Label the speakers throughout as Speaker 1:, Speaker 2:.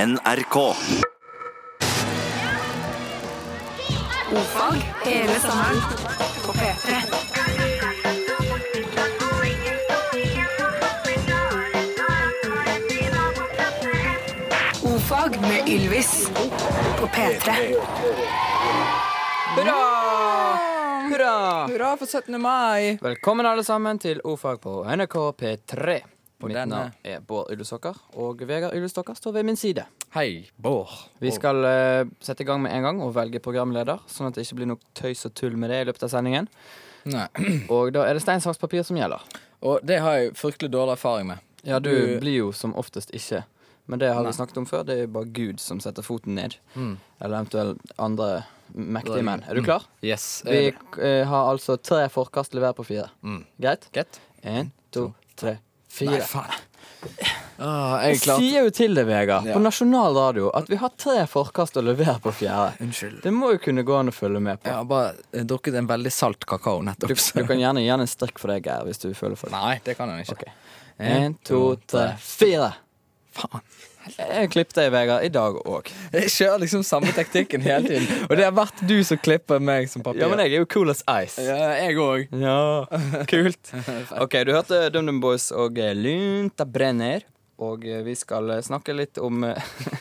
Speaker 1: NRK.
Speaker 2: Ordfag hele sommeren på P3. Ordfag med Ylvis på P3.
Speaker 3: Hurra! Hurra!
Speaker 4: Hurra for 17. mai!
Speaker 3: Velkommen alle sammen til ordfag på NRK P3. Mitt
Speaker 4: denne.
Speaker 3: navn er Bård Yllestokker, og Vegard Yllestokker står ved min side.
Speaker 4: Hei, Bård.
Speaker 3: Vi skal eh, sette i gang med en gang og velge programleder, sånn at det ikke blir noe tøys og tull med det i løpet av sendingen.
Speaker 4: Nei.
Speaker 3: Og da er det stein, saks, papir som gjelder.
Speaker 4: Og det har jeg fryktelig dårlig erfaring med.
Speaker 3: Ja, du
Speaker 4: Du-
Speaker 3: blir jo som oftest ikke. Men det har
Speaker 4: Nei.
Speaker 3: vi snakket om før, det er jo bare Gud som setter foten ned. Eller eventuelt andre mektige menn. Mm. Er du klar?
Speaker 4: Yes.
Speaker 3: Vi
Speaker 4: Vi
Speaker 3: eh, har altså tre forkast til hver på fire. Greit?
Speaker 4: Greit.
Speaker 3: En, to, tre,
Speaker 4: Nei,
Speaker 3: fire.
Speaker 4: faen. Ah,
Speaker 3: Jeg
Speaker 4: jeg klarte
Speaker 3: sier jo til deg, Vegard,
Speaker 4: Ja.
Speaker 3: på nasjonal radio at vi har tre forkast å levere på fjerde.
Speaker 4: Unnskyld.
Speaker 3: Det må jo kunne gå an å følge med
Speaker 4: Jeg
Speaker 3: på.
Speaker 4: har bare eh, drukket en veldig salt kakao nettopp.
Speaker 3: Du, du kan gjerne gi han en strikk for deg, Geir, hvis du føler for det.
Speaker 4: Nei, det kan jeg ikke.
Speaker 3: Ok. En, to, tre, fire.
Speaker 4: Faen.
Speaker 3: Jeg klippet deg, Vegard, i dag òg.
Speaker 4: Jeg kjører liksom samme teknikken hele tiden. Og det har vært du som klipper meg som papir.
Speaker 3: Ja, men jeg er jo cool as ice.
Speaker 4: Ja, jeg òg.
Speaker 3: Ja, kult. OK, du hørte DumDum Boys og eh, Lunta brenner. Og eh, vi skal eh, snakke litt om eh,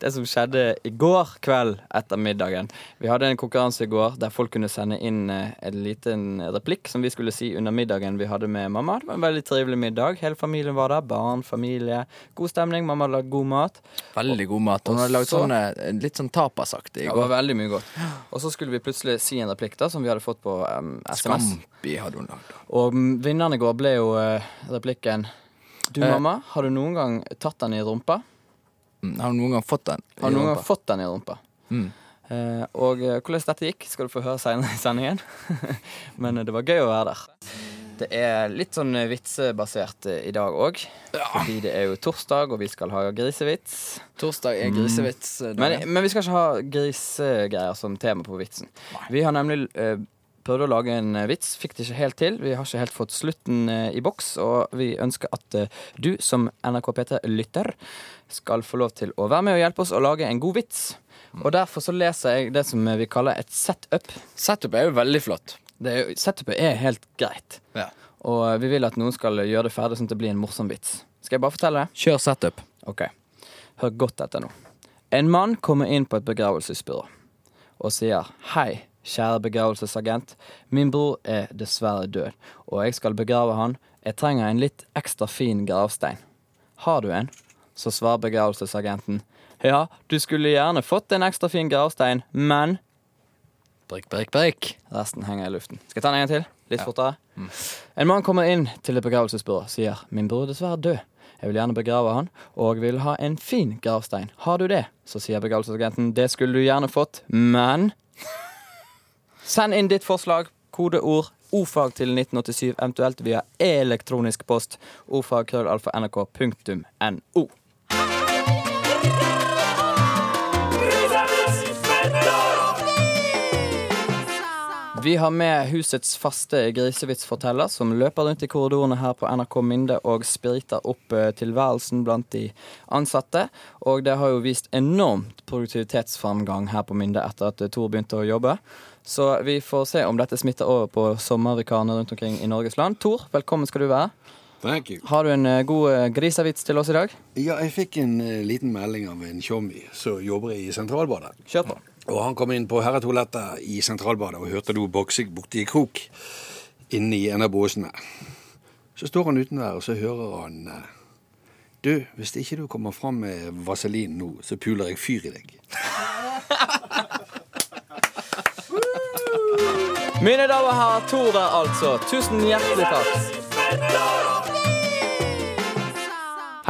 Speaker 3: det som skjedde i går kveld etter middagen. Vi hadde en konkurranse i går der folk kunne sende inn eh, en liten replikk som vi skulle si under middagen vi hadde med mamma. Det var en veldig trivelig middag. Hele familien var der. Barn, familie. God stemning. Mamma hadde lagd god mat.
Speaker 4: Veldig god mat. Hun har lagd
Speaker 3: så-
Speaker 4: sånne eh, litt sånn tapasaktig i
Speaker 3: Det
Speaker 4: går.
Speaker 3: var veldig mye godt. Og så skulle vi plutselig si en replikk da som vi hadde fått på em, SMS.
Speaker 4: Scampi hadde hun lagd.
Speaker 3: Og mm, vinneren i går ble jo eh, replikken Du,
Speaker 4: Eh.
Speaker 3: mamma, har du noen gang tatt den i rumpa?
Speaker 4: Mm, Har hun noen gang fått den? i
Speaker 3: Har du noen gang
Speaker 4: rumpa?
Speaker 3: fått den i rumpa?
Speaker 4: Mm.
Speaker 3: Eh, og eh, hvordan dette gikk, skal du få høre senere i sendingen. Men eh, det var gøy å være der. Det er litt sånn eh, vitsebasert eh, i dag òg. Fordi det er jo torsdag, og vi skal ha grisevits.
Speaker 4: Torsdag er grisevits. eh,
Speaker 3: Men, men vi skal ikke ha grisegreier som tema på vitsen.
Speaker 4: Nei.
Speaker 3: Vi har nemlig eh, prøvd å lage en eh, vits, fikk det ikke helt til. Vi har ikke helt fått slutten eh, i boks, og vi ønsker at eh, du som NRK P3-lytter skal få lov til å være med og hjelpe oss å lage en god vits. Og derfor så leser jeg det som vi kaller et setup.
Speaker 4: Setup er jo veldig flott.
Speaker 3: Det er, jo- setupet er helt greit, og eh, vi vil at noen skal gjøre det ferdig sånn at det blir en morsom vits. Skal jeg bare fortelle det?
Speaker 4: Kjør setup.
Speaker 3: Ok, hør godt etter nå. En mann kommer inn på et begravelsesbyrå og sier Hei, kjære begravelsesagent. Min bror er dessverre død, og jeg skal begrave han. Jeg trenger en litt ekstra fin gravstein. Har du en? Så svarer begravelsesagenten. Ja, du skulle gjerne fått en ekstra fin gravstein, men
Speaker 4: Brikk, brikk, brikk.
Speaker 3: Resten henger i luften. Skal jeg ta den en gang til? Litt fortere. En mann kommer inn til et begravelsesbyrå sier 'Min bror er dessverre død. Jeg vil gjerne begrave han, og vil ha en fin gravstein. Har du det?' Så sier begravelsesagenten 'Det skulle du gjerne fått, men' Send inn ditt forslag, kodeord, ordfag til 1987, eventuelt via elektronisk post, ordfagkrøllalfa.nrk.no. Vi har med husets faste grisevitsforteller, som løper rundt i korridorene her på NRK Minde og spriter opp eh, tilværelsen blant de ansatte. Og det har jo vist enormt produktivitetsframgang her på Minde etter at eh, Tor begynte å jobbe. Så vi får se om dette smitter over på sommervikarene rundt omkring i Norges land. Tor, velkommen skal du være.
Speaker 5: Thank you.
Speaker 3: Har du en eh, god eh, grisevits til oss i dag?
Speaker 5: Ja, jeg fikk en eh, liten melding av en tjommi som jobber i Sentralbadet.
Speaker 3: Kjør på.
Speaker 5: Og han kom inn på herretoalettet i Sentralbadet og hørte noe boksing borti en krok inni en av båsene. Så står han uten der, og så hører han eh, Du, hvis ikke du kommer fram med vaselin nå, så puler jeg fyr i deg.
Speaker 3: Mine damer og herrer, Tor der altså. Tusen hjertelig takk.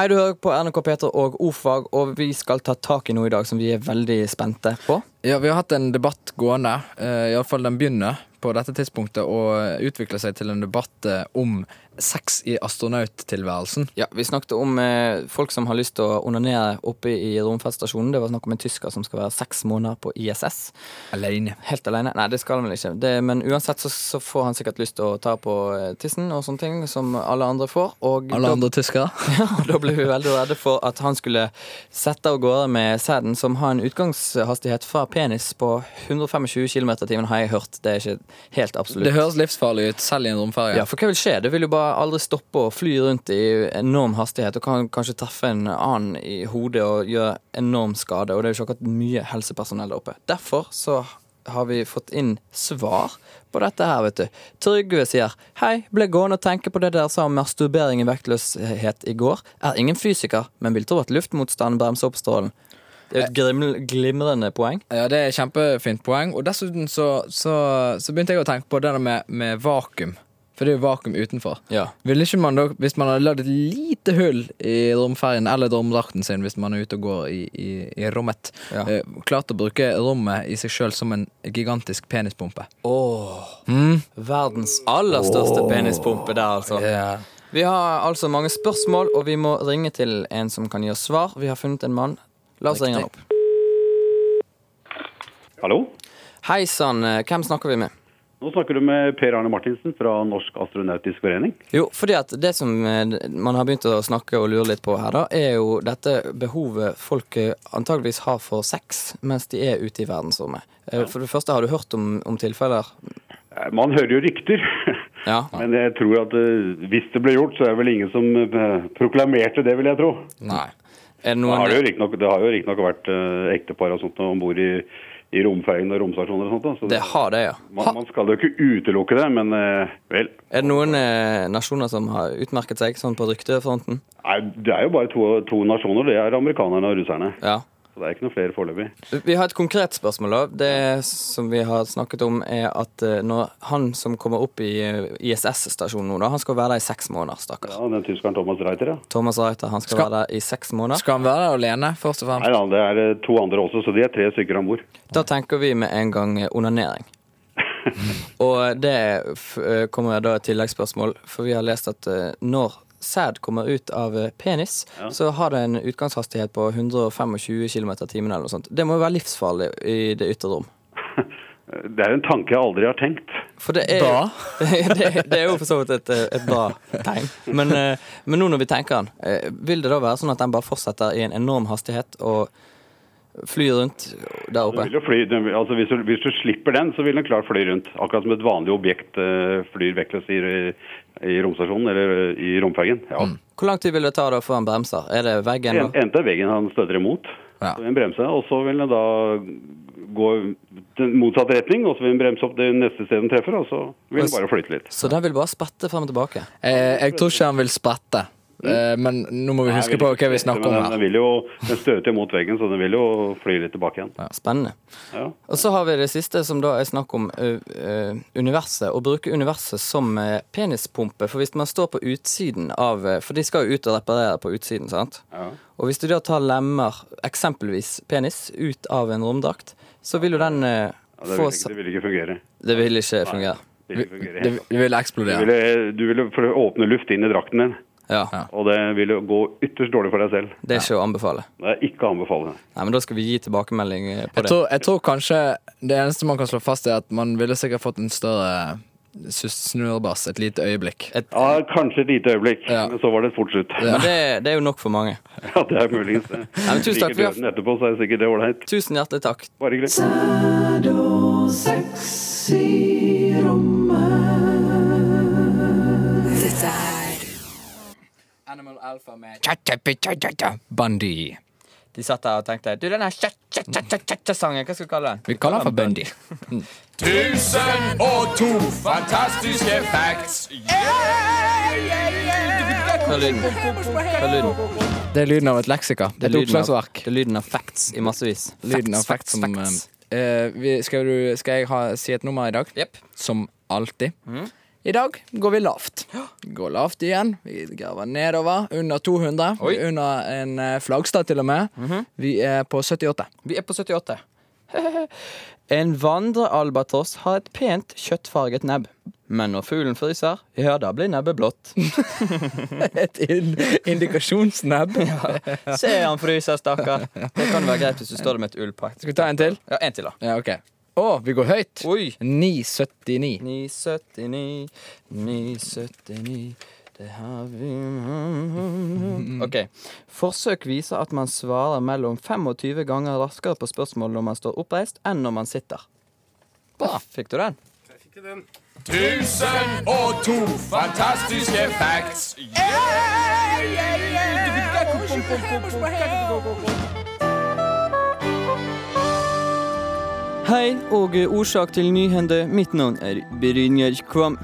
Speaker 3: Hei, du hører på NRK Peter og Ofag, og vi skal ta tak i noe i dag som vi er veldig spente på.
Speaker 4: Ja, vi har hatt en debatt gående. eh, i alle fall den begynner på dette tidspunktet å utvikle seg til en debatt eh, om sex i astronauttilværelsen.
Speaker 3: Ja, Vi snakket om eh, folk som har lyst til å onanere oppe i romferdstasjonen. Det var snakk om en tysker som skal være seks måneder på ISS.
Speaker 4: Alene.
Speaker 3: Helt alene. Nei, det skal han vel ikke. Det, men uansett så, så får han sikkert lyst til å ta på eh, tissen og sånne ting, som alle andre får. Og
Speaker 4: Alle
Speaker 3: da-
Speaker 4: andre tyskere?
Speaker 3: Ja, og da ble vi veldig redde for at han skulle sette av gårde med sæden, som har en utgangshastighet fra penis på 125 km i timen, har jeg hørt. Det er ikke helt absolutt.
Speaker 4: Det høres livsfarlig ut, selv i en romferie.
Speaker 3: Ja, for hva vil skje? Det vil jo bare aldri stoppe å fly rundt i enorm hastighet og kan kanskje treffe en annen i hodet og gjøre enorm skade, og det er jo ikke akkurat mye helsepersonell der oppe. Derfor så har vi fått inn svar på dette her, vet du. Trygve sier Hei, ble gående og tenke på det dere sa om masturbering i vektløshet i går. Er ingen fysiker, men vil tro at luftmotstand bremser opp strålen. Det er et griml- glimrende poeng.
Speaker 4: Ja, det er et kjempefint poeng. Og dessuten så, så, så begynte jeg å tenke på det der med, med vakuum. For det er jo vakuum utenfor.
Speaker 3: Ja.
Speaker 4: Ville ikke man da, Hvis man hadde lagd et lite hull i romferjen eller romdrakten sin hvis man er ute og går i, i, i rommet,
Speaker 3: Ja.
Speaker 4: eh, klart å bruke rommet i seg sjøl som en gigantisk penispumpe.
Speaker 3: Verdens aller største penispumpe der, altså. Vi har altså mange spørsmål, og vi må ringe til en som kan gi oss svar. Vi har funnet en mann. La oss ringe han opp.
Speaker 1: Hallo?
Speaker 3: Hei sann, eh, hvem snakker vi med?
Speaker 1: Nå snakker du med Per Arne Martinsen fra Norsk Astronautisk Forening.
Speaker 3: Jo, fordi at det som eh, man har begynt å snakke og lure litt på her, da, er jo dette behovet folk eh, antageligvis har for sex mens de er ute i verdensrommet. Eh, For det første, har du hørt om, om tilfeller?
Speaker 1: Eh, Man hører jo rykter,
Speaker 3: Ja.
Speaker 1: men jeg tror at eh, hvis det ble gjort, så er det vel ingen som eh, proklamerte det, vil jeg tro.
Speaker 3: Nei. Er det
Speaker 1: Det
Speaker 3: noen
Speaker 1: har jo riktignok det har jo riktignok vært eh, ektepar og sånt om bord i, i romferjen og romstasjoner og sånt. Da. Så
Speaker 3: Det har det, ja.
Speaker 1: man,
Speaker 3: Ha-
Speaker 1: man skal jo ikke utelukke det, men eh, vel.
Speaker 3: Er det noen eh, nasjoner som har utmerket seg sånn på ryktefronten?
Speaker 1: Nei, det er jo bare to, to nasjoner. Det er amerikanerne og russerne.
Speaker 3: Ja.
Speaker 1: Så det er ikke noe flere foreløpig.
Speaker 3: Vi har et konkret spørsmål. da. Det som vi har snakket om, er at eh, når han som kommer opp i ISS-stasjonen nå, da, han skal være der i seks måneder, stakkar.
Speaker 1: Ja, den tyskeren Thomas Reiter, ja.
Speaker 3: Thomas Reiter, han skal,
Speaker 4: Skal-
Speaker 3: være der i seks måneder.
Speaker 4: Skal han være der alene, først og
Speaker 1: Nei
Speaker 4: fremst?
Speaker 1: da, det er eh, to andre også, så de er tre stykker om bord.
Speaker 3: Da tenker vi med en gang eh, onanering. Og det f eh, kommer da et tilleggsspørsmål, for vi har lest at eh, når sæd kommer ut av eh, penis, så har det en utgangshastighet på 125 km i timen eller noe sånt. Det må jo være livsfarlig i det ytre rom.
Speaker 1: Det er en tanke jeg aldri har tenkt.
Speaker 3: For det er,
Speaker 4: Bra.
Speaker 3: det, det er jo for så vidt et, eh, et bra tegn. Men, eh, men nå når vi tenker den, eh, vil det da være sånn at den bare fortsetter i en enorm hastighet og flyr rundt der
Speaker 1: Den
Speaker 3: oppe?
Speaker 1: vil jo fly, den, vil- altså hvis, du, hvis du slipper den, så vil den klart fly rundt. Akkurat som et vanlig objekt eh, flyr vektløst i, i romstasjonen eller eh, i romfergen. Ja.
Speaker 4: Mm.
Speaker 3: Hvor lang tid vil det ta da før han bremser? Er det veggen?
Speaker 1: En,
Speaker 3: da?
Speaker 1: endte veggen han støter imot,
Speaker 4: Ja.
Speaker 1: så vil den bremse, og så vil den da gå den motsatte retning, og så vil den bremse opp det neste stedet den treffer, og så vil den bare flyte litt.
Speaker 3: Så den vil bare spette frem og tilbake?
Speaker 4: Eh, jeg tror ikke han vil sprette. Eh, men nå må vi huske på hva vi snakker om
Speaker 1: Men
Speaker 4: her.
Speaker 1: Den, den, vil jo, den støter imot veggen, så den vil jo fly litt tilbake igjen.
Speaker 3: Spennende.
Speaker 1: Ja.
Speaker 3: Og så har vi det siste, som da er snakk om ø, ø, universet. Å bruke universet som ø, penispumpe. For hvis man står på utsiden av ø, For de skal jo ut og reparere på utsiden, sant?
Speaker 1: Ja.
Speaker 3: Og hvis du da tar lemmer, eksempelvis penis, ut av en romdrakt, så vil jo den ø,
Speaker 1: Ja, det, vil
Speaker 3: få
Speaker 1: ikke, det vil ikke fungere.
Speaker 3: sa- Det vil ikke fungere.
Speaker 1: Det vil ikke fungere.
Speaker 4: Det, det vil
Speaker 1: Du
Speaker 4: eksplodere.
Speaker 1: ville, du ville for- åpne luft inn i drakten din,
Speaker 3: Ja.
Speaker 4: Ja.
Speaker 1: og det ville gå ytterst dårlig for deg selv.
Speaker 3: Det er ikke å anbefale.
Speaker 1: Det er ikke å anbefale.
Speaker 3: Nei, men da skal vi gi tilbakemelding ø, på
Speaker 4: Jeg
Speaker 3: det.
Speaker 4: tror, jeg tror kanskje det eneste man kan slå fast, er at man ville sikkert fått en større sus- snurrebass et lite øyeblikk.
Speaker 1: Ja, kanskje et lite øyeblikk,
Speaker 4: Ja.
Speaker 1: men så var det fort slutt. Ja,
Speaker 3: Men det, det er jo nok for mange.
Speaker 1: det er muligens det.
Speaker 3: men tusen takk
Speaker 1: Liker
Speaker 3: for-
Speaker 1: døden etterpå, så er det sikkert det ålreit.
Speaker 3: Tusen hjertelig takk.
Speaker 1: Bare greit.
Speaker 2: Dette er
Speaker 4: Animal Alpha med Bundy.
Speaker 3: De satt der og tenkte Du, den her cha-cha-cha-cha-sangen, hva skal vi kalle den?
Speaker 4: Vi kaller han for Bundy.
Speaker 3: Hva er lyden? Hva er lyden?
Speaker 4: Det er lyden av et leksika. Det er et
Speaker 3: lyden av-
Speaker 4: oppslagsverk.
Speaker 3: Det er lyden av facts i massevis.
Speaker 4: Lyden av facts
Speaker 3: facts,
Speaker 4: som
Speaker 3: facts.
Speaker 4: eh, vi, skal, du, skal jeg ha, si et nummer i dag?
Speaker 3: Jepp.
Speaker 4: Som alltid. I dag går vi lavt. Går lavt igjen. Vi graver nedover. Under 200.
Speaker 3: Oi.
Speaker 4: Under en eh, flaggstad, til og med. Mhm. Vi er på 78.
Speaker 3: Vi er på 78. En vandrealbatross har et pent kjøttfarget nebb. Men når fuglen fryser, ja, da blir nebbet blått.
Speaker 4: Et in indikasjonsnebb.
Speaker 3: Se, han fryser, stakkar. Det kan være greit hvis du står der med et ullpakt.
Speaker 4: Skal vi ta en til?
Speaker 3: Ja, en til, da.
Speaker 4: Ja, ok. Å, vi går høyt.
Speaker 3: Oi!
Speaker 4: 979.
Speaker 3: 979, 979 Det har vi OK. Forsøk viser at man svarer mellom 25 ganger raskere på spørsmål når man står oppreist, enn når man sitter. Bra. Fikk du den? Hei, og eh, årsak til nyhende. Mitt navn er Brynjar Kvam.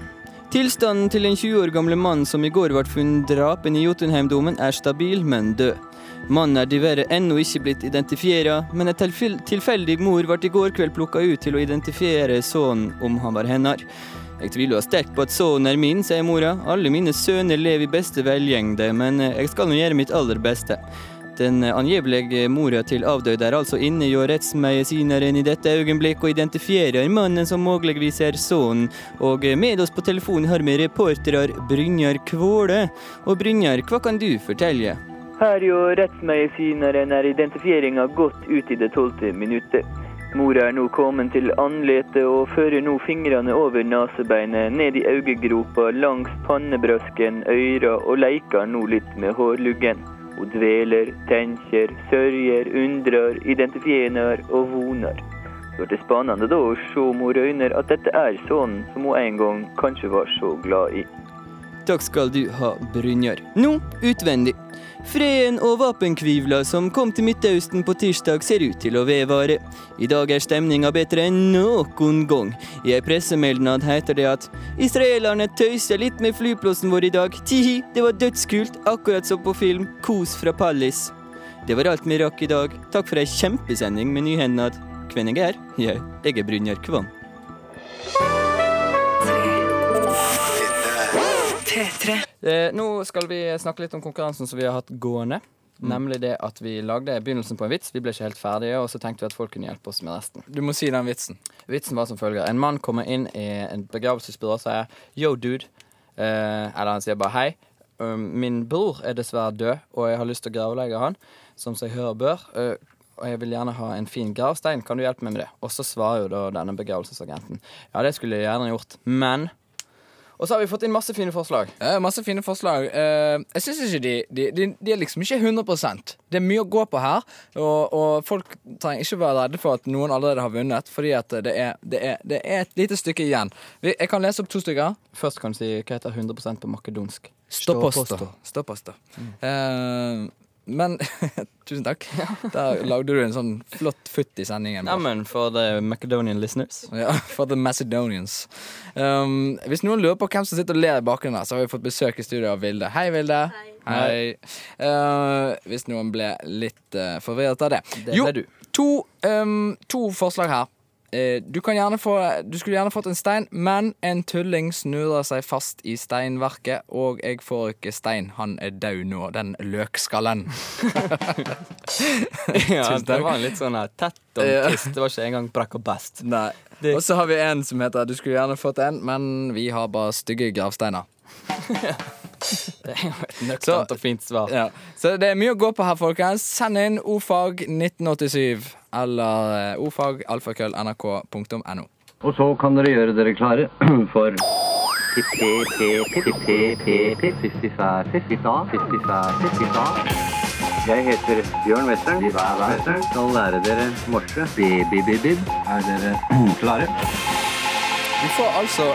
Speaker 3: Tilstanden til en 20 år gamle mann som i går ble funnet drapen i Jotunheimdomen, er stabil, men død. Mannen er diverre ennå ikke blitt identifiert, men en tilfel- tilfeldig mor ble i går kveld plukka ut til å identifiere sønnen om han var hennes. Jeg tviler sterkt på at sønnen er min, sier mora. Alle mine sønner lever i beste velgjengde, men eh, jeg skal nå gjøre mitt aller beste. Den angivelige mora til avdøde er altså inne hjå rettsmedisineren i dette øyeblikk og identifierer mannen som muligvis er sønnen, og med oss på telefonen har vi reporterer Brynjar Kvåle. Og Brynjar, hva kan du fortelle?
Speaker 6: Her jo rettsmedisineren er identifieringa godt ut i det tolvte minuttet. Mora er nå kommet til andletet og fører nå fingrene over nesebeinet, ned i øyegropa, langs pannebrøsken, øyra og leker nå litt med hårluggen. Hun dveler, tenker, sørger, undrer, identifierer og voner. Det blir spennende da å se om hun røyner at dette er sønnen som hun en gang kanskje var så glad i.
Speaker 3: Takk skal du ha, Brynjar. Nå utvendig. Freden og våpenkvivla som kom til Midtøsten på tirsdag, ser ut til å vedvare. I dag er stemninga bedre enn noen gang. I ei pressemeldnad heter det at israelerne tøyser litt med flyplassen vår i dag. Tihi, det var dødskult, akkurat som på film. Kos fra Pallis. Det var alt vi rakk i dag. Takk for ei kjempesending med nyhendnad. Hvem jeg er? Jeg, jeg er Brynjar Kvam.
Speaker 2: P3.
Speaker 3: Eh, nå skal vi snakke litt om konkurransen som vi har hatt gående.
Speaker 4: Mm.
Speaker 3: Nemlig det at vi lagde begynnelsen på en vits. Vi ble ikke helt ferdige, og så tenkte vi at folk kunne hjelpe oss med resten.
Speaker 4: Du må si den vitsen.
Speaker 3: Vitsen var som følger. En mann kommer inn i en begravelsesbyrå og sier yo, dude. Eh, eller han sier bare hei. Um, min bror er dessverre død, og jeg har lyst til å gravlegge han, som seg hør og bør. Eh, og jeg vil gjerne ha en fin gravstein. Kan du hjelpe meg med det? Og så svarer jo da denne begravelsesagenten ja, det skulle jeg gjerne gjort, men Og så har vi fått inn masse fine forslag.
Speaker 4: Eh, masse fine forslag. Eh, jeg syns ikke de, de, de De er liksom ikke 100 Det er mye å gå på her, og, og folk trenger ikke være redde for at noen allerede har vunnet, fordi at det er, det er, det er et lite stykke igjen. Vi, jeg kan lese opp to stykker.
Speaker 3: Først kan du si hva heter 100 på makedonsk.
Speaker 4: Ståpåstå. Ståpåstå. Eh, men Tusen takk. Der lagde du en sånn flott futt i sendingen. vår.
Speaker 3: Neimen, for the Macedonian listeners.
Speaker 4: Ja, for the Macedonians. Um, hvis noen lurer på hvem som sitter og ler i bakgrunnen, her, så har vi fått besøk i studio av Vilde. Hei, Vilde. Hei. Uh, hvis noen ble litt uh, forvirret av det.
Speaker 3: Det ble du.
Speaker 4: To, um, to forslag her. Eh, Du, kan gjerne få, du skulle gjerne fått en stein, men en tulling snurrer seg fast i steinverket, og jeg får ikke stein. Han er daud nå, den løkskallen.
Speaker 3: ja,
Speaker 4: Tusen
Speaker 3: det
Speaker 4: takk.
Speaker 3: var en litt sånn her tett og
Speaker 4: Ja.
Speaker 3: trist. Det var ikke engang brakk og best.
Speaker 4: Nei.
Speaker 3: Det-
Speaker 4: Og så har vi en som heter 'Du skulle gjerne fått en', men vi har bare stygge gravsteiner.
Speaker 3: Det er jo et nøkternt
Speaker 4: Så-
Speaker 3: og fint svar.
Speaker 4: Ja. Så det er mye å gå på her, folkens. Send inn ordfag 1987 eller eh, ordfag alfakøll nrk.no.
Speaker 7: Og så kan dere gjøre dere klare for Jeg heter Bjørn Western. Western. Skal lære dere morse. Bi-bi-bi-bib. Er dere klare?
Speaker 4: Vi får altså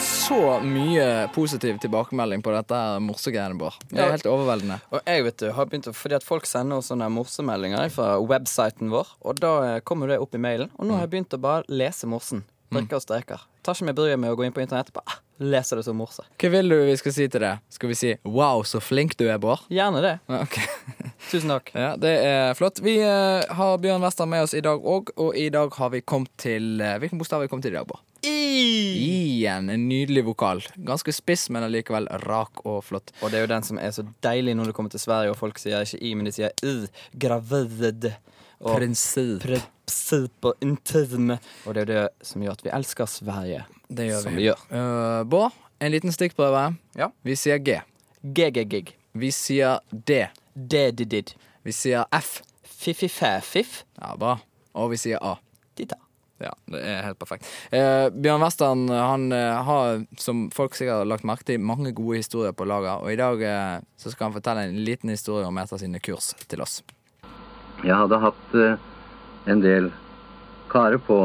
Speaker 4: så mye positiv tilbakemelding på dette her morsegreiene, Bård. Det er helt overveldende.
Speaker 3: Og jeg vet du, har begynt å, fordi at Folk sender oss sånne morsemeldinger fra websiten vår, og da eh, kommer det opp i mailen. Og nå har jeg begynt å bare lese morsen. Brikker og streker. Tar ikke meg bryet med å gå inn på internettet. Bare ah, leser det som morse.
Speaker 4: Hva vil du vi skal si til det? Skal vi si 'wow, så flink du er, Bård'?
Speaker 3: Gjerne det.
Speaker 4: Ja, Ok
Speaker 3: Tusen takk.
Speaker 4: Ja, det er flott. Vi eh, har Bjørn Wester med oss i dag òg, og i dag har vi kommet til eh, Hvilken bokstav har vi kommet til i dag, Bård? I en nydelig vokal. Ganske spiss, men allikevel rak og flott.
Speaker 3: Og det er jo den som er så deilig når du kommer til Sverige og folk sier ikke i, men de sier i. Gravid. Og
Speaker 4: Prinsipp.
Speaker 3: prinsipp og intisme. Og det er det som gjør at vi elsker Sverige.
Speaker 4: Det gjør
Speaker 3: som
Speaker 4: vi.
Speaker 3: vi gjør.
Speaker 4: Eh, Bård, en liten stikkprøve.
Speaker 3: Ja.
Speaker 4: Vi sier G.
Speaker 3: GG-gig.
Speaker 4: Vi sier D.
Speaker 3: Dedidid.
Speaker 4: Vi sier F.
Speaker 3: Fiffi-fæ-fiff.
Speaker 4: Ja, bra. Og vi sier A.
Speaker 3: Titta.
Speaker 4: Ja, det er helt perfekt. Eh, Bjørn Western han eh, har, som folk sikkert har lagt merke til, mange gode historier på lager. Og i dag eh, så skal han fortelle en liten historie om et av sine kurs til oss.
Speaker 7: Jeg hadde hatt eh, en del karer på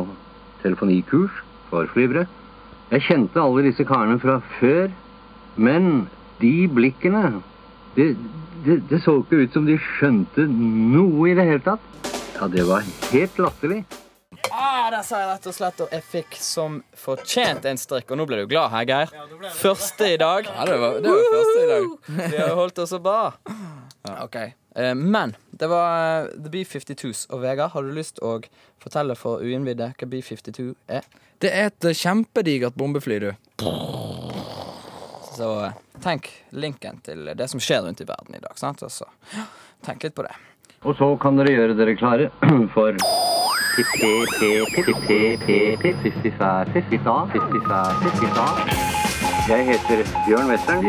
Speaker 7: telefonikurs for flyvere. Jeg kjente alle disse karene fra før, men de blikkene Det, det, det så ikke ut som de skjønte noe i det hele tatt. Ja, det var helt latterlig.
Speaker 3: Ah, der sa jeg rett og slett, og jeg fikk som fortjent en strikk. Og nå ble du glad, her, Geir. Første i dag.
Speaker 4: Ja, det var, det var første i dag.
Speaker 3: Vi har holdt oss så bra. Ok. Eh, Men det var eh, The B-52s. Og Vegard, har du lyst å fortelle for uinnvidde hva B-52 er?
Speaker 4: Det er et eh, kjempedigert bombefly, du.
Speaker 3: Så eh, tenk linken til det som skjer rundt i verden i dag. sant? Og så tenk litt på det.
Speaker 7: Og så kan dere gjøre dere klare for Jeg heter Bjørn Western.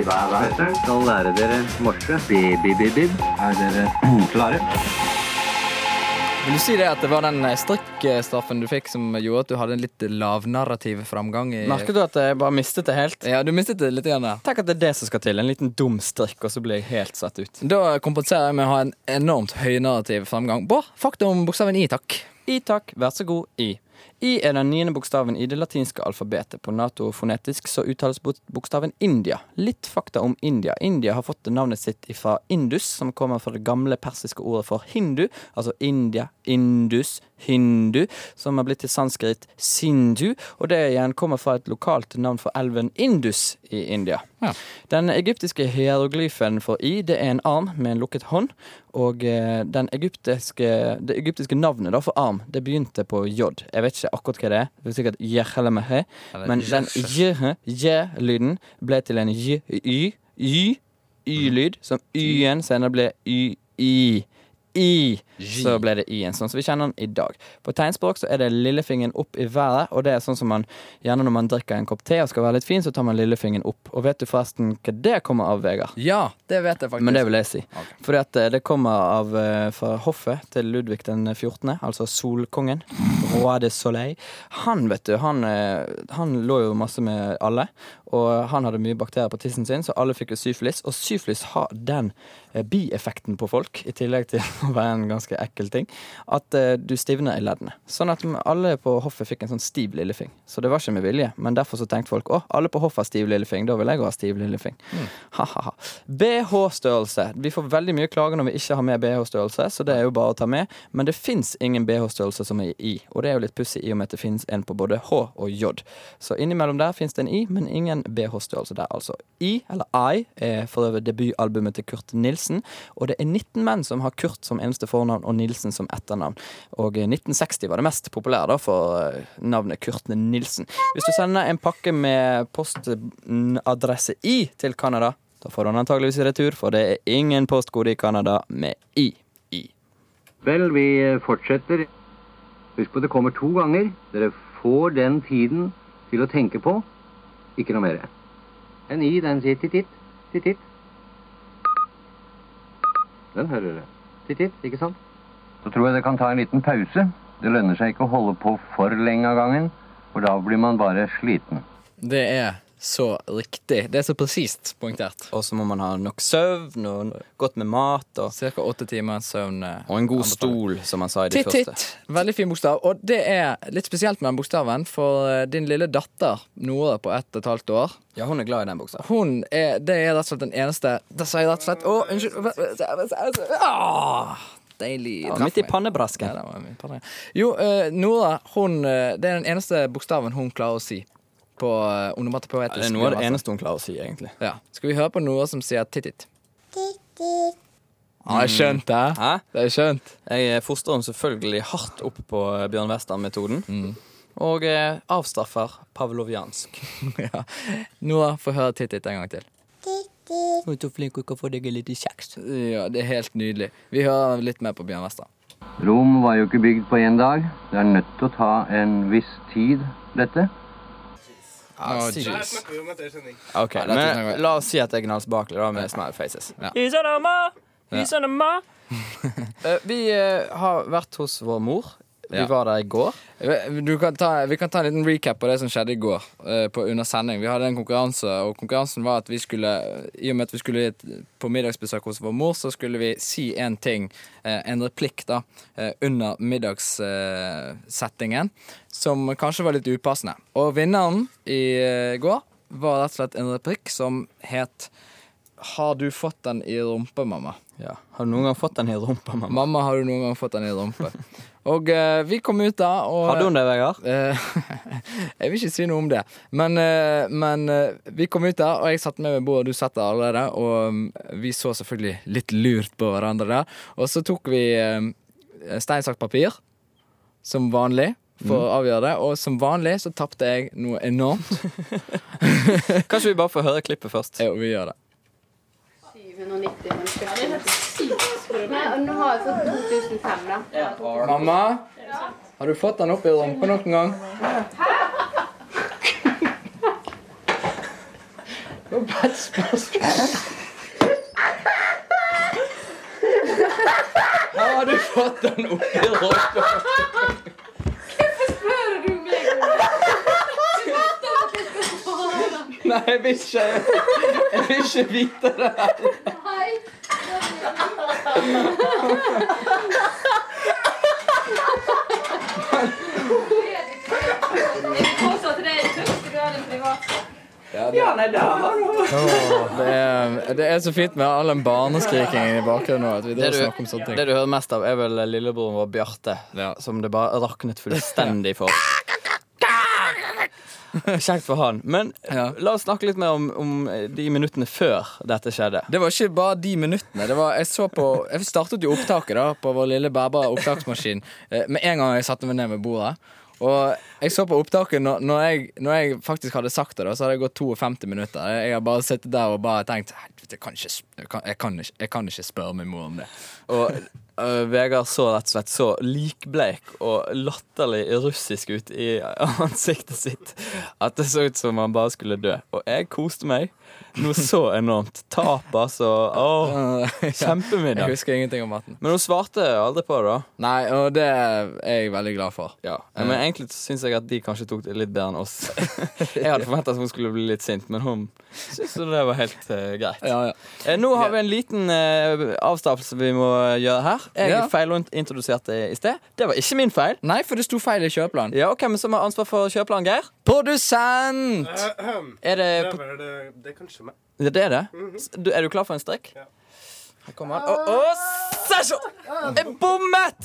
Speaker 7: Skal lære dere morse. Bi-bi-bi-bib. Er dere klare?
Speaker 4: Vil du si det at det var den eh, strikkstraffen du fikk som gjorde at du hadde en litt lavnarrativ framgang? I
Speaker 3: Merker du at jeg bare mistet det helt?
Speaker 4: Eh, Ja, du mistet det litt igjen der.
Speaker 3: Tenk at det er det som skal til. En liten dum strikk, og så blir jeg helt satt ut.
Speaker 4: Da kompenserer jeg med å ha en enormt høynarrativ framgang. Bård, fakta om bokstaven I, takk.
Speaker 3: I takk, vær så god, I. I er den niende bokstaven i det latinske alfabetet. På NATO-fonetisk så uttales bok- bokstaven India. Litt fakta om India. India har fått navnet sitt fra Indus, som kommer fra det gamle persiske ordet for hindu. Altså India, Indus, hindu, som har blitt til sanskrit sindhu. Og det igjen kommer fra et lokalt navn for elven Indus i India.
Speaker 4: Ja.
Speaker 3: Den egyptiske hieroglyfen for i, det er en arm med en lukket hånd. Og eh, den egyptiske, det egyptiske navnet da for arm, det begynte på j. Jeg vet ikke akkurat hva det er. Det er sikkert jehelemehe. Men den j-lyden ble til en j, y, y, y-lyd, som y-en senere ble y, i. I, så ble det i-en, sånn som vi kjenner den i dag. På tegnspråk så er det lillefingeren opp i været, og det er sånn som man gjerne når man drikker en kopp te og skal være litt fin, så tar man lillefingeren opp. Og vet du forresten hva det kommer av, Vegard?
Speaker 4: Ja, det vet jeg faktisk.
Speaker 3: Men det vil jeg si. Fordi at eh, det kommer av eh, fra hoffet til Ludvig den 14., altså solkongen. Roi de Soleil. Han, vet du, han, eh, han lå jo masse med alle, og han hadde mye bakterier på tissen sin, så alle fikk jo syfilis. Og syfilis har den eh, bieffekten på folk, i tillegg til å være en ganske ekkel ting, at eh, du stivner i leddene. Sånn at alle på hoffet fikk en sånn stiv lillefing. Så det var ikke med vilje, men derfor så tenkte folk å, alle på hoffet har stiv lillefing, da vil jeg òg ha stiv lillefing. Ha-ha-ha. BH-størrelse. Vi får veldig mye klager når vi ikke har med BH-størrelse, så det er jo bare å ta med. Men det fins ingen BH-størrelse som er i, og det er jo litt pussig i og med at det fins en på både H og J. Så innimellom der fins det en i, men ingen BH-størrelse der, altså. I, eller I, er for øvrig debutalbumet til Kurt Nilsen, og det er 19 menn som har Kurt som eneste fornavn og Nilsen som etternavn. Og eh, 1960 var det mest populære da for eh, navnet Kurt Nilsen. Hvis du sender en pakke med postadresse I til Canada, da får du den antageligvis i retur, for det er ingen postkode i Canada med I. I.
Speaker 7: Vel, vi eh, fortsetter. Husk på det kommer to ganger. Dere får den tiden til å tenke på. Ikke noe mer. En i, den sier titt-titt. Titt-titt. Den hører dere. Titt-titt, ikke sant? Så tror jeg det kan ta en liten pause. Det lønner seg ikke å holde på for lenge av gangen, for da blir man bare sliten.
Speaker 4: Det er så riktig. Det er så presist poengtert.
Speaker 3: Og så må man ha nok søvn og godt med mat og,
Speaker 4: Cirka åtte timer søvn. eh,
Speaker 3: og en god
Speaker 4: anbefaler.
Speaker 3: stol, som man sa i de
Speaker 4: Titt,
Speaker 3: første.
Speaker 4: titt. Veldig fin bokstav. Og det er litt spesielt med den bokstaven, for eh, din lille datter, Nora på ett og et halvt år,
Speaker 3: Ja, hun er glad i den buksa.
Speaker 4: hun er, det er rett og sllet den eneste Da sa jeg rett og slett Å, unnskyld. Ah, deilig.
Speaker 3: Ja,
Speaker 4: Traff
Speaker 3: midt i
Speaker 4: meg. Ja,
Speaker 3: pannebrasken.
Speaker 4: det var min panne. Jo, eh, Nora, hun eh, Det er den eneste bokstaven hun klarer å si på uh, onomatopoetisk.
Speaker 3: Det er noe av det
Speaker 4: altså.
Speaker 3: eneste hun klarer å si, egentlig.
Speaker 4: Ja. Skal vi høre på noe som sier tittit? Ja, ah, skjønt det.
Speaker 3: Hæ?
Speaker 4: Det er skjønt.
Speaker 3: Jeg eh, fostrer henne selvfølgelig hardt opp på eh, Bjørn Western-metoden. Og eh, avstraffer pavloviansk.
Speaker 4: ja. Noah, få høre tittit en gang til.
Speaker 3: Du er så flink, du kan få deg litt kjeks.
Speaker 4: Ja, det er helt nydelig. Vi hører litt mer på Bjørn Western.
Speaker 7: Rom var jo ikke bygd på én dag. Det er nødt til å ta en viss tid, dette.
Speaker 4: Å, jeez.
Speaker 3: Ah, Ok,
Speaker 4: Nei, dette kan
Speaker 3: men
Speaker 4: gå.
Speaker 3: La oss si at jeg gnallsbakelig da med smile faces.
Speaker 4: Ja.
Speaker 3: He's on a ma, he's on a ma. Eh, Vi eh, har vært hos vår mor. Vi
Speaker 4: Ja.
Speaker 3: var der i går.
Speaker 4: Du kan ta, vi kan ta en liten recap på det som skjedde i går eh, på, under sending. Vi hadde en konkurranse, og konkurransen var at vi skulle eh, I og med at vi skulle på middagsbesøk hos vår mor, så skulle vi si en ting, eh, en replikk, da, eh, under middagssettingen som kanskje var litt upassende. Og vinneren i eh, går var rett og slett en replikk som het Har du fått den i rumpa, mamma?
Speaker 3: Ja. Har du noen gang fått den i rumpa, mamma?
Speaker 4: Mamma, har du noen gang fått den i rumpa? Og eh, vi kom ut da, og
Speaker 3: Hadde hun det, Vegard?
Speaker 4: Eh, jeg vil ikke si noe om det. Men, eh, men eh, vi kom ut der, og jeg satt med meg Bård, du satt der allerede. Og mm, vi så selvfølgelig litt lurt på hverandre der. Og så tok vi um, stein, saks, papir, som vanlig. For
Speaker 3: Mm.
Speaker 4: å avgjøre det Og som vanlig så tapte jeg noe enormt.
Speaker 3: Kanskje vi bare får høre klippet først?
Speaker 4: Jo, vi gjør det.
Speaker 8: 790 mennesker. Det er helt sykt. Nei, og nå har vi fått 2005, da.
Speaker 4: Mamma, har du fått den opp i rumpa noen gang?
Speaker 3: Har du fått den opp i rumpa?
Speaker 8: Hører du meg? Du vet at jeg skal svare.
Speaker 3: Nei, jeg vil ikke Jeg vil ikke vite det.
Speaker 8: Hei. Jeg påstår at det er i første grad en privat
Speaker 4: Det er, Eh, det er så fint med all den barneskrikingen i bakgrunnen nå. At vi
Speaker 3: Det
Speaker 4: driver og snakker om
Speaker 3: du,
Speaker 4: sånne ting.
Speaker 3: det du hører mest av, er vel lillebroren vår Bjarte.
Speaker 4: Ja.
Speaker 3: Som det bare raknet fullstendig for. Kjekt for han. Men
Speaker 4: Ja.
Speaker 3: la oss snakke litt mer om, om de minuttene før dette skjedde.
Speaker 4: Det var ikke bare de minuttene. Det var, jeg, så på, jeg startet jo opptaket da på vår lille bærbare opptaksmaskin eh, med en gang jeg satte meg ned ved bordet. Og jeg så på opptaket når, når, jeg, når jeg faktisk hadde sagt det, da, så hadde det gått 52 minutter. Jeg har bare sittet der og bare tenkt Helvete, jeg kan ikke, sp- jeg kan, jeg kan ikke, jeg kan ikke spørre min mor om det.
Speaker 3: Og øh, Vegard så rett og slett så likbleik og latterlig russisk ut i ansiktet sitt at det så ut som han bare skulle dø. Og jeg koste meg noe så enormt. Tap, altså. Åh,
Speaker 4: Jeg
Speaker 3: kjempemiddag.
Speaker 4: husker ingenting om maten.
Speaker 3: Men hun svarte aldri på det, da.
Speaker 4: Nei, og det er jeg veldig glad for.
Speaker 3: Ja, Men egentlig syns jeg at de kanskje tok det litt bedre enn oss. Jeg hadde forventa at hun skulle bli litt sint, men hun syntes jo det var helt eh, greit.
Speaker 4: Ja, ja.
Speaker 3: Eh, Nå har vi en liten eh, avstavelse vi må gjøre her. Jeg
Speaker 4: Ja.
Speaker 3: feilintroduserte i sted. Det var ikke min feil.
Speaker 4: Nei, for det sto feil i kjøpeplanen.
Speaker 3: Ja, og Hvem som har ansvar for kjøpeplan, Geir?
Speaker 4: Produsent!
Speaker 3: Er det,
Speaker 9: Det er, vel, det er kanskje meg. Mhm.
Speaker 3: ja, det er det? S- Du, er du klar for en strekk?
Speaker 9: Ja.
Speaker 3: Her kommer han. Å, å, Sasha! Jeg bommet!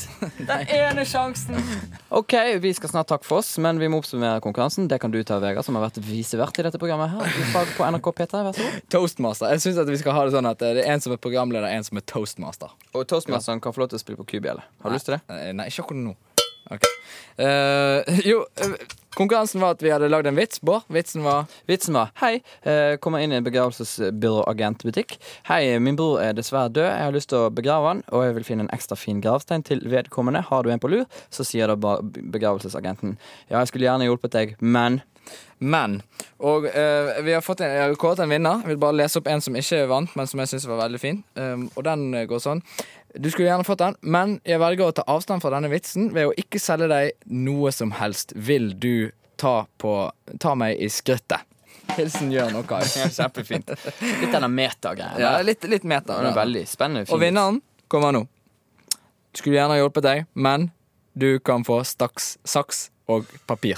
Speaker 3: Den ene sjansen. OK, vi skal snart takke for oss, men vi må oppsummere konkurransen. Det kan du ta, Vegard, som har vært visevert i dette programmet her. I fag på NRK P3, vær så god.
Speaker 4: Toastmaster. Jeg syns vi skal ha det sånn at det er en som er programleder, en som er toastmaster.
Speaker 3: Og Toastmasteren kan få lov til å spille på kubjelle. Har du lyst til det?
Speaker 4: Eh, Nei, ikke akkurat nå. Ok. Eh, jo, eh, konkurransen var at vi hadde lagd en vits. Bård, vitsen var
Speaker 3: Vitsen var Hei, eh, kommer inn i en begravelsesbyråagentbutikk. Hei, min bror er dessverre død. Jeg har lyst til å begrave han, og jeg vil finne en ekstra fin gravstein til vedkommende. Har du en på lur? Så sier da ba- begravelsesagenten Ja, jeg skulle gjerne hjulpet deg, men
Speaker 4: men. Og eh, vi har fått en, jeg har kåret en vinner. Jeg vil bare lese opp en som ikke vant, men som jeg syns var veldig fin. Um, og den eh, går sånn. Du skulle gjerne fått den, men jeg velger å ta avstand fra denne vitsen ved å ikke selge deg noe som helst. Vil du ta, på, ta meg i skrittet? Hilsen Jørn og Kai. Kjempefint.
Speaker 3: Litt denne metagreia.
Speaker 4: Ja,
Speaker 3: der.
Speaker 4: litt, litt meta.
Speaker 3: Den er veldig spennende. fin.
Speaker 4: Og vinneren kommer nå. Skulle gjerne ha hjulpet deg, men du kan få staks, saks og papir.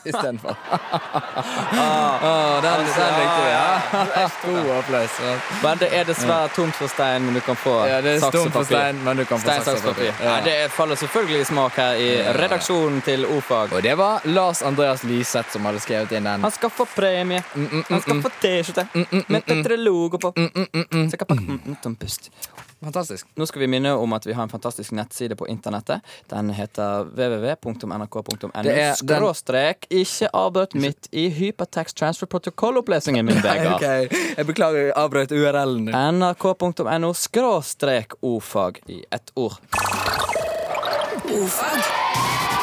Speaker 4: Istedenfor. ah, den, den likte vi. Ja. God applaus.
Speaker 3: Men det er dessverre tomt for stein, men du kan få
Speaker 4: Ja, det er
Speaker 3: saks og
Speaker 4: stumt for
Speaker 3: papir.
Speaker 4: stein, men du kan få
Speaker 3: Stein, saks, papir.
Speaker 4: Ja.
Speaker 3: Ja. det faller selvfølgelig i smak her i redaksjonen til Ofag.
Speaker 4: Og det var Lars Andreas Liseth som hadde skrevet inn den.
Speaker 3: Han skal få premie.
Speaker 4: Mm,
Speaker 3: Han skal få T-skjorte med tettere logo på. Så kan pakke- mm, mm, tom pust.
Speaker 4: Fantastisk.
Speaker 3: Nå skal vi minne om at vi har en fantastisk nettside på internettet. Den heter
Speaker 4: Det
Speaker 3: www.nrk.no.
Speaker 4: er den-
Speaker 3: Skråstrek ikke avbrutt midt i hypertext transfer protokoll-opplesningen min, Vegard.
Speaker 4: Jeg beklager, jeg avbrøt URL-en.
Speaker 3: nrk.no skråstrek ofag i ett ord.
Speaker 2: Ofag.